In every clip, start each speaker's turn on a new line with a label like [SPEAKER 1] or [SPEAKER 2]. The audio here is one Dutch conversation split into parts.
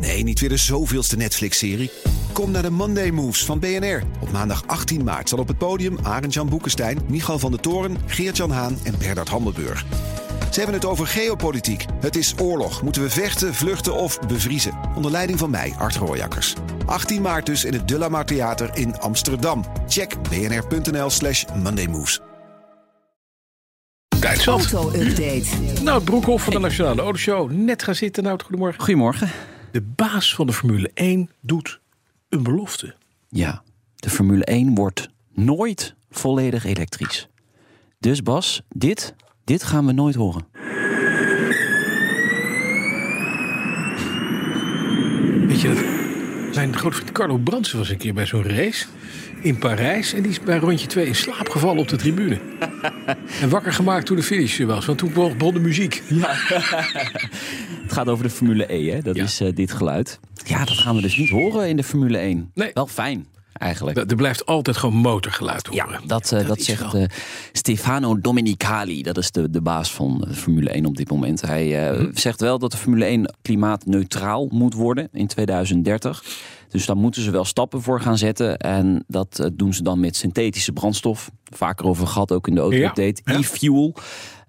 [SPEAKER 1] Nee, niet weer de zoveelste Netflix-serie. Kom naar de Monday Moves van BNR. Op maandag 18 maart zal op het podium Arend-Jan Boekenstein, Michal van der Toren, Geert-Jan Haan en Bernard Hammelburg. Ze hebben het over geopolitiek. Het is oorlog. Moeten we vechten, vluchten of bevriezen? Onder leiding van mij, Art Rooijakkers. 18 maart dus in het De La Mar Theater in Amsterdam. Check bnr.nl slash mondaymoves.
[SPEAKER 2] Duitsland.
[SPEAKER 3] Auto-update.
[SPEAKER 2] Nou, Broekhoff van de Nationale Autoshow. Net gaan zitten. Nou, goedemorgen.
[SPEAKER 4] Goedemorgen.
[SPEAKER 2] De baas van de Formule 1 doet een belofte.
[SPEAKER 4] Ja, de Formule 1 wordt nooit volledig elektrisch. Dus Bas, dit, dit gaan we nooit horen.
[SPEAKER 2] Weet je dat? Mijn grote vriend Carlo Brandsen was een keer bij zo'n race in Parijs. En die is bij rondje 2 in slaap gevallen op de tribune. en wakker gemaakt toen de finish er was. Want toen begon de muziek.
[SPEAKER 4] Het gaat over de Formule E, hè? dat
[SPEAKER 2] Ja.
[SPEAKER 4] is eh, dit geluid. Ja, dat gaan we dus niet horen in de Formule 1.
[SPEAKER 2] Nee.
[SPEAKER 4] Wel fijn, eigenlijk.
[SPEAKER 2] Er blijft altijd gewoon motorgeluid
[SPEAKER 4] ja,
[SPEAKER 2] horen.
[SPEAKER 4] dat, eh, dat,
[SPEAKER 2] is
[SPEAKER 4] zegt
[SPEAKER 2] wel-
[SPEAKER 4] eh, Stefano Domenicali. Dat is de, de baas van eh, Formule 1 op dit moment. Hij eh, zegt wel dat de Formule 1 klimaatneutraal moet worden in 2030. Dus daar moeten ze wel stappen voor gaan zetten. En dat eh, doen ze dan met synthetische brandstof. Vaker over gehad, ook in de auto-update.
[SPEAKER 2] Ja, ja.
[SPEAKER 4] E-fuel.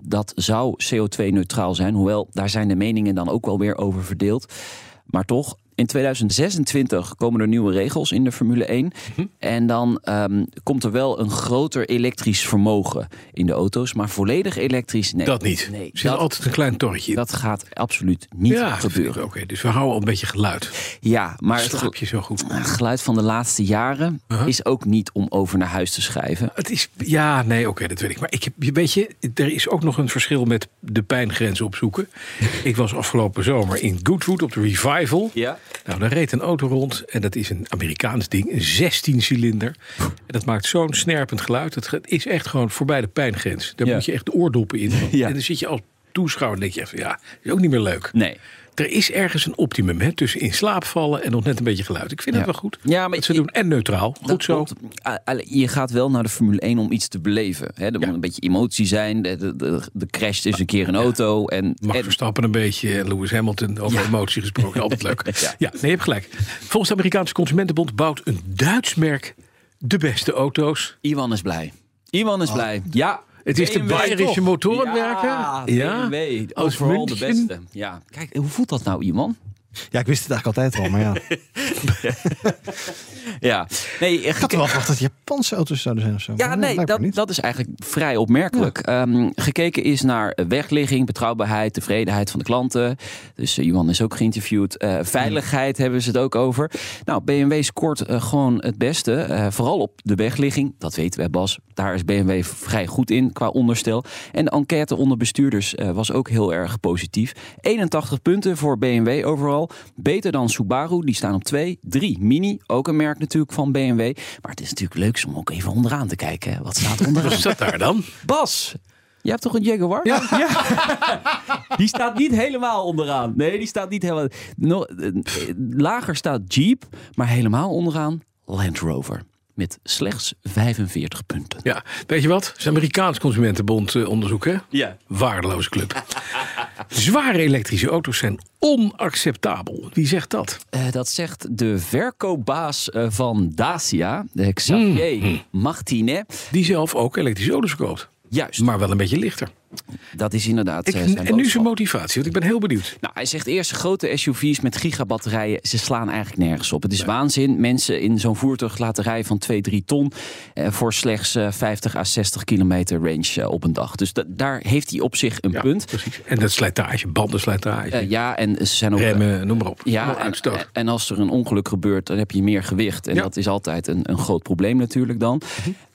[SPEAKER 4] Dat zou CO2-neutraal zijn. Hoewel, daar zijn de meningen dan ook wel weer over verdeeld. Maar toch, in 2026 komen er nieuwe regels in de Formule 1.
[SPEAKER 2] Mhm.
[SPEAKER 4] En dan ehm, komt er wel een groter elektrisch vermogen in de auto's. Maar volledig elektrisch, nee.
[SPEAKER 2] Dat niet.
[SPEAKER 4] Nee,
[SPEAKER 2] er zit
[SPEAKER 4] dat,
[SPEAKER 2] altijd een klein torretje in.
[SPEAKER 4] dat gaat absoluut niet
[SPEAKER 2] ja, dat vind ik
[SPEAKER 4] gebeuren.
[SPEAKER 2] ook. Oké, Dus we houden al een beetje geluid.
[SPEAKER 4] Ja, maar het,
[SPEAKER 2] Slaap je zo Uh-huh. goed.
[SPEAKER 4] gel- het geluid van de laatste jaren is ook niet om over naar huis te schrijven.
[SPEAKER 2] Het is, ja, nee, oké, dat weet ik. Maar ik, heb- weet je, er is ook nog een verschil met de pijngrens opzoeken. ik was afgelopen zomer in Goodwood op de Revival.
[SPEAKER 4] Ja.
[SPEAKER 2] Nou, daar reed een auto rond en dat is een Amerikaans ding, een 16-cilinder. En dat maakt zo'n snerpend geluid. Het ge- is echt gewoon voorbij de pijngrens. Daar
[SPEAKER 4] Ja.
[SPEAKER 2] moet je echt de oordoppen in.
[SPEAKER 4] Ja.
[SPEAKER 2] En dan zit je als toeschouwer en denk je echt van, ja, is ook niet meer leuk.
[SPEAKER 4] Nee.
[SPEAKER 2] Er is ergens een optimum hè, tussen in slaap vallen en nog net een beetje geluid. Ik vind
[SPEAKER 4] Ja.
[SPEAKER 2] het wel goed.
[SPEAKER 4] Ja, maar
[SPEAKER 2] dat ze
[SPEAKER 4] ik- Nou,
[SPEAKER 2] doen en neutraal. Goed
[SPEAKER 4] Dat
[SPEAKER 2] zo.
[SPEAKER 4] klopt. A- alle- Je gaat wel naar de Formule 1 om iets te beleven. Hè? Er
[SPEAKER 2] Ja.
[SPEAKER 4] moet een beetje emotie zijn. De, de, de, de crasht is een keer een auto. En,
[SPEAKER 2] Max
[SPEAKER 4] en-
[SPEAKER 2] Verstappen een beetje, en Lewis Hamilton, over emotie gesproken, altijd leuk. Ja. nee, je hebt gelijk. Volgens de Amerikaanse Consumentenbond bouwt een Duits merk de beste auto's.
[SPEAKER 4] Iwan is blij. Oh. Iwan is blij. Ja.
[SPEAKER 2] Het is de
[SPEAKER 4] BMW
[SPEAKER 2] Bayerische
[SPEAKER 4] toch?
[SPEAKER 2] motorenwerken.
[SPEAKER 4] Ja,
[SPEAKER 2] Ja.
[SPEAKER 4] BMW.
[SPEAKER 2] Aus
[SPEAKER 4] Overal de
[SPEAKER 2] München.
[SPEAKER 4] beste. Ja. Kijk, hoe voelt dat nou, Iwan?
[SPEAKER 5] Ja, ik wist het eigenlijk altijd wel, maar ja. Ik
[SPEAKER 4] Ja. Nee, eh,
[SPEAKER 5] had wel verwacht dat Japanse auto's zouden zijn of zo.
[SPEAKER 4] Ja,
[SPEAKER 5] Maar
[SPEAKER 4] nee,
[SPEAKER 5] blijkbaar
[SPEAKER 4] dat,
[SPEAKER 5] niet.
[SPEAKER 4] dat is eigenlijk vrij opmerkelijk. Ehm, gekeken is naar eh, wegligging, betrouwbaarheid, tevredenheid van de klanten. Dus eh, Johan is ook geïnterviewd. Eh, veiligheid hebben ze het ook over. Nou, BMW scoort eh, gewoon het beste. Eh, vooral op de wegligging. Dat weten wij, Bas. Daar is BMW vrij goed in qua onderstel. En de enquête onder bestuurders eh, was ook heel erg positief. 81 punten voor BMW overal. Beter dan Subaru, die staan op 2. 3 Mini, ook een merk natuurlijk van BMW. Maar het is natuurlijk leuk om ook even onderaan te kijken. hè. Wat staat er
[SPEAKER 2] Wat
[SPEAKER 4] onderaan?
[SPEAKER 2] staat daar dan?
[SPEAKER 4] Bas, jij hebt toch een Jaguar? Ja. Die staat niet helemaal onderaan. Nee, die staat niet helemaal... Nog- eh, lager staat Jeep, maar helemaal onderaan Land Rover. Met slechts 45 punten.
[SPEAKER 2] Ja, weet je wat? Het is Amerikaans Consumentenbond eh, onderzoek, hè?
[SPEAKER 4] Ja.
[SPEAKER 2] Waardeloze club. Zware elektrische auto's zijn onacceptabel. Wie zegt dat?
[SPEAKER 4] Eh, dat zegt de verkoopbaas eh, van Dacia, de Xavier
[SPEAKER 2] Mm.
[SPEAKER 4] Martinet.
[SPEAKER 2] Die zelf ook elektrische auto's verkoopt.
[SPEAKER 4] Juist,
[SPEAKER 2] Maar wel een beetje lichter.
[SPEAKER 4] dat is inderdaad
[SPEAKER 2] Ik,
[SPEAKER 4] eh, zijn
[SPEAKER 2] en nu zijn
[SPEAKER 4] boodschap.
[SPEAKER 2] motivatie, want ik ben heel benieuwd.
[SPEAKER 4] Nou, hij zegt eerst grote SUV's met gigabatterijen. Ze slaan eigenlijk nergens op. Het is waanzin. Mensen in zo'n voertuig laten rijden van 2, 3 ton. eh, voor slechts eh, 50 à 60 kilometer range eh, op een dag. Dus da- daar heeft hij op zich een
[SPEAKER 2] Ja,
[SPEAKER 4] punt.
[SPEAKER 2] Precies. En dat slijtage, bandenslijtage.
[SPEAKER 4] Eh, ja, en ze zijn ook.
[SPEAKER 2] remmen, noem maar op.
[SPEAKER 4] Ja, eh,
[SPEAKER 2] Allemaal uitstoot.
[SPEAKER 4] en, en als er een ongeluk gebeurt, dan heb je meer gewicht. En
[SPEAKER 2] Ja. Mhm.
[SPEAKER 4] dat is altijd een, een groot probleem natuurlijk dan.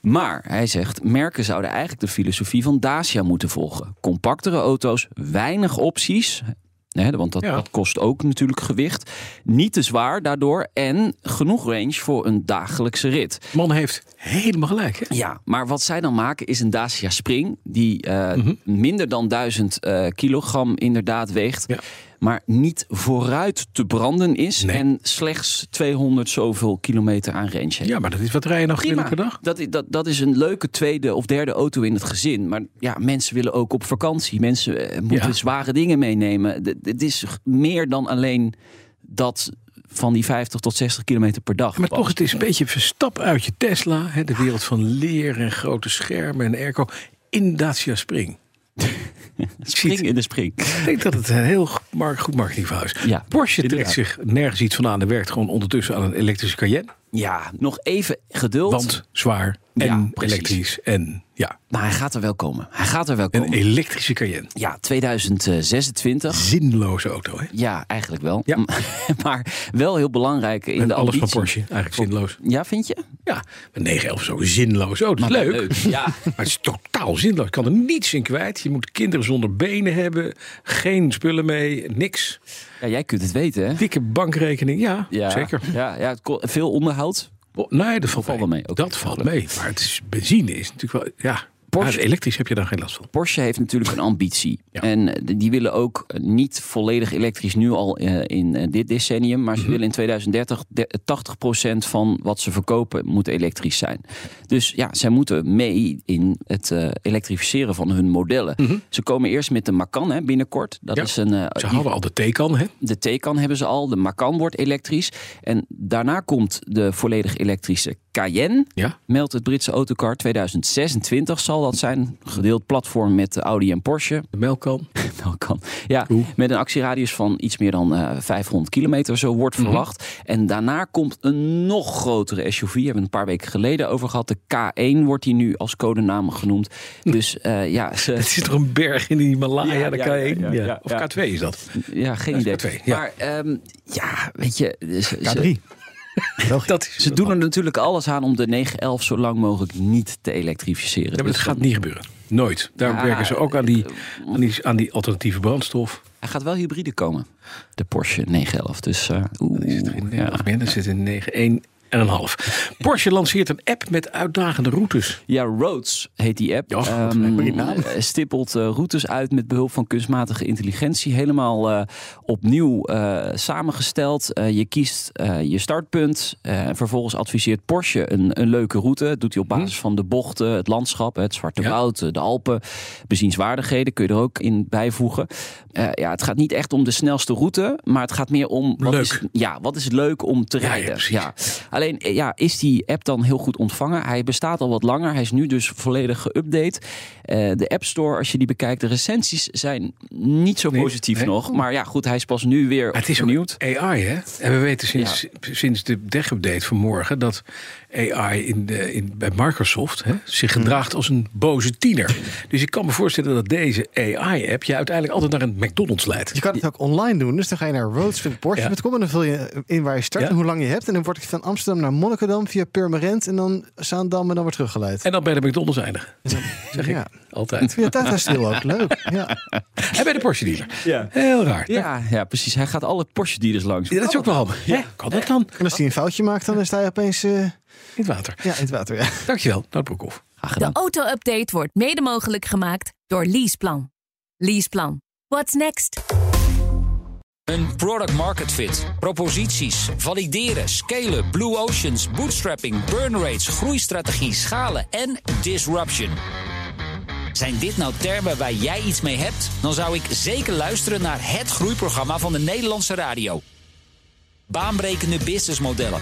[SPEAKER 4] Maar, hij zegt, merken zouden eigenlijk de filosofie van Dacia moeten volgen. Compactere auto's, weinig opties... hè, want dat,
[SPEAKER 2] Ja.
[SPEAKER 4] dat kost ook natuurlijk gewicht. Niet te zwaar daardoor. En genoeg range voor een dagelijkse rit.
[SPEAKER 2] Man heeft helemaal gelijk. Hè?
[SPEAKER 4] Ja, maar wat zij dan maken is een Dacia Spring. Die eh,
[SPEAKER 2] Mhm.
[SPEAKER 4] minder dan 1000 eh, kilogram inderdaad weegt.
[SPEAKER 2] Ja.
[SPEAKER 4] Maar niet vooruit te branden is.
[SPEAKER 2] Nee.
[SPEAKER 4] En slechts 200 zoveel kilometer aan range heeft.
[SPEAKER 2] Ja, maar dat is wat rijden nou gemiddeld per dag.
[SPEAKER 4] Dat, i- dat, dat is een leuke tweede of derde auto in het gezin. Maar ja, mensen willen ook op vakantie. Mensen eh, moeten
[SPEAKER 2] Ja.
[SPEAKER 4] zware dingen meenemen. D- d- Het is g- meer dan alleen dat van die 50 tot 60 kilometer per dag.
[SPEAKER 2] Maar
[SPEAKER 4] gepast.
[SPEAKER 2] toch, het is een beetje verstap uit je Tesla. Hè, de wereld van leer en grote schermen en airco. In Dacia Spring.
[SPEAKER 4] spring in de spring.
[SPEAKER 2] Ik denk dat het een heel mar- goed marketingverhaal is.
[SPEAKER 4] Ja.
[SPEAKER 2] Porsche trekt zich nergens iets van aan. En werkt gewoon ondertussen aan een elektrische Cayenne.
[SPEAKER 4] Ja, nog even geduld.
[SPEAKER 2] Want zwaar en
[SPEAKER 4] Ja, precies.
[SPEAKER 2] elektrisch. En ja,
[SPEAKER 4] Maar hij gaat er wel komen. Hij gaat er wel
[SPEAKER 2] een
[SPEAKER 4] komen.
[SPEAKER 2] elektrische Cayenne.
[SPEAKER 4] Ja, 2026.
[SPEAKER 2] Zinloze auto, hè?
[SPEAKER 4] Ja, eigenlijk wel.
[SPEAKER 2] Ja.
[SPEAKER 4] maar wel heel belangrijk in
[SPEAKER 2] En
[SPEAKER 4] de
[SPEAKER 2] alles van
[SPEAKER 4] ambitie.
[SPEAKER 2] Porsche, eigenlijk zinloos.
[SPEAKER 4] Ja, vind je?
[SPEAKER 2] Ja, een 911 is ook een zinloos auto. Dat is leuk.
[SPEAKER 4] Ja.
[SPEAKER 2] Maar het is totaal zinloos. Je kan er niets in kwijt. Je moet kinderen zonder benen hebben. Geen spullen mee. Niks.
[SPEAKER 4] ja, jij kunt het weten, hè?
[SPEAKER 2] Dikke bankrekening. Ja,
[SPEAKER 4] Ja,
[SPEAKER 2] zeker.
[SPEAKER 4] Ja, ja, het ko- veel onderhoud.
[SPEAKER 2] Oh, Nee, dat valt
[SPEAKER 4] Valt
[SPEAKER 2] mee.
[SPEAKER 4] wel mee, oké.
[SPEAKER 2] Dat valt mee. Maar het is, benzine is natuurlijk wel... Ja,
[SPEAKER 4] Porsche-
[SPEAKER 2] Ah, elektrisch heb je daar geen last van.
[SPEAKER 4] Porsche heeft natuurlijk een ambitie.
[SPEAKER 2] Ja.
[SPEAKER 4] En eh, die willen ook eh, niet volledig elektrisch nu al eh, in eh, dit decennium. Maar ze
[SPEAKER 2] Mhm.
[SPEAKER 4] willen in 2030 de- 80% van wat ze verkopen moet elektrisch zijn. Dus ja, zij moeten mee in het eh, elektrificeren van hun modellen. Ze komen eerst met de Macan hè, binnenkort. Dat
[SPEAKER 2] Mhm. Ja.
[SPEAKER 4] is een, eh,
[SPEAKER 2] Ze hadden al de Taycan, hè?
[SPEAKER 4] de Taycan hebben ze al. De Macan wordt elektrisch. En daarna komt de volledig elektrische Cayenne.
[SPEAKER 2] Ja.
[SPEAKER 4] Meldt het Britse autocar 2026 zal dat zijn. Gedeeld platform met eh, Audi en Porsche.
[SPEAKER 2] De Melkan.
[SPEAKER 4] Nou, kan. Ja,
[SPEAKER 2] Oeh.
[SPEAKER 4] met een actieradius van iets meer dan eh, 500 kilometer, zo wordt
[SPEAKER 2] Mhm.
[SPEAKER 4] verwacht. En daarna komt een nog grotere SUV. Hebben we het een paar weken geleden over gehad. De K1 wordt die nu als codenaam genoemd. Dus eh, ja,
[SPEAKER 2] Het
[SPEAKER 4] ze,
[SPEAKER 2] is toch een berg in de Himalaya,
[SPEAKER 4] Ja,
[SPEAKER 2] de
[SPEAKER 4] ja,
[SPEAKER 2] K1?
[SPEAKER 4] ja, ja,
[SPEAKER 2] Ja.
[SPEAKER 4] ja.
[SPEAKER 2] Of
[SPEAKER 4] Ja.
[SPEAKER 2] K2 is dat.
[SPEAKER 4] ja geen idee.
[SPEAKER 2] K2, ja.
[SPEAKER 4] Maar ehm, ja, weet je, ze- ze,
[SPEAKER 5] K3. België.
[SPEAKER 2] dat is
[SPEAKER 4] Ze doen er natuurlijk alles aan om de 911 zo lang mogelijk niet te elektrificeren.
[SPEAKER 2] Ja, maar
[SPEAKER 4] Dus
[SPEAKER 2] dat gaat
[SPEAKER 4] dan-
[SPEAKER 2] niet gebeuren. Nooit. Daarom
[SPEAKER 4] Ja,
[SPEAKER 2] werken ze ook aan die, aan die, aan die alternatieve brandstof.
[SPEAKER 4] Hij gaat wel hybride komen, de Porsche 911. Dus eh, oeh,
[SPEAKER 2] Ja.
[SPEAKER 4] ja.
[SPEAKER 2] binnen zit in 9, 1 en een half. Porsche lanceert een app met uitdagende routes.
[SPEAKER 4] ja, Roads heet die app.
[SPEAKER 2] Ja, goed,
[SPEAKER 4] Ehm,
[SPEAKER 5] goede naam.
[SPEAKER 4] eh, stippelt eh, routes uit met behulp van kunstmatige intelligentie. Helemaal eh, opnieuw eh, samengesteld. Eh, je kiest eh, je startpunt. eh, en vervolgens adviseert Porsche een, een leuke route. Dat doet hij op basis van de bochten, het landschap, het Zwarte
[SPEAKER 2] Hm. Ja.
[SPEAKER 4] Woud, eh, de Alpen. Bezienswaardigheden kun je er ook in bijvoegen. Eh, ja, het gaat niet echt om de snelste route, maar het gaat meer om... Wat
[SPEAKER 2] Leuk.
[SPEAKER 4] Is, ja, wat is leuk om te
[SPEAKER 2] Ja, ja,
[SPEAKER 4] rijden?
[SPEAKER 2] precies.
[SPEAKER 4] Ja, Alleen eh, ja, is die app dan heel goed ontvangen? Hij bestaat al wat langer. Hij is nu dus volledig geüpdate. Eh, de App Store, als je die bekijkt, de recensies zijn niet zo
[SPEAKER 2] Nee,
[SPEAKER 4] positief
[SPEAKER 2] nee.
[SPEAKER 4] nog. Maar ja, goed, hij is pas nu weer
[SPEAKER 2] Het is ook
[SPEAKER 4] vernieuwd.
[SPEAKER 2] AI, hè? En we weten sinds, sinds de tech-update van morgen... dat AI in de, in, bij Microsoft hè, zich gedraagt als een boze tiener. Dus ik kan me voorstellen dat deze AI-app... je uiteindelijk altijd naar een McDonald's leidt.
[SPEAKER 5] Je kan het ook online doen. Dus dan ga je naar roads.porsche.com en dan vul je in waar je start
[SPEAKER 2] Ja.
[SPEAKER 5] en hoe lang je hebt. En dan word ik van Amsterdam naar Monnikendam via Purmerend en dan Zaandam en dan weer teruggeleid.
[SPEAKER 2] En dan bij de McDonald's eindigen. Zeg ik
[SPEAKER 5] Ja.
[SPEAKER 2] altijd.
[SPEAKER 5] Via Tata Steel ook. Leuk. Ja.
[SPEAKER 2] En bij de Porsche dealer. Heel raar.
[SPEAKER 4] Ja, ja, precies. Hij gaat alle Porsche dealers langs.
[SPEAKER 2] Ja, dat is ook wel handig. Ja, kan dat dan?
[SPEAKER 5] En als die een foutje maakt, dan sta je opeens eh,
[SPEAKER 2] In het water.
[SPEAKER 5] ja, in het water. Ja.
[SPEAKER 2] Dankjewel, Nout Broekhoff.
[SPEAKER 4] Graag
[SPEAKER 3] De
[SPEAKER 4] gedaan.
[SPEAKER 3] auto-update wordt mede mogelijk gemaakt door Leaseplan. Leaseplan. What's next?
[SPEAKER 6] Een product market fit. Proposities, valideren, scalen, blue oceans, bootstrapping, burn rates, groeistrategie, schalen en disruption. Zijn dit nou termen waar jij iets mee hebt? Dan zou ik zeker luisteren naar het groeiprogramma van de Nederlandse radio. Baanbrekende businessmodellen.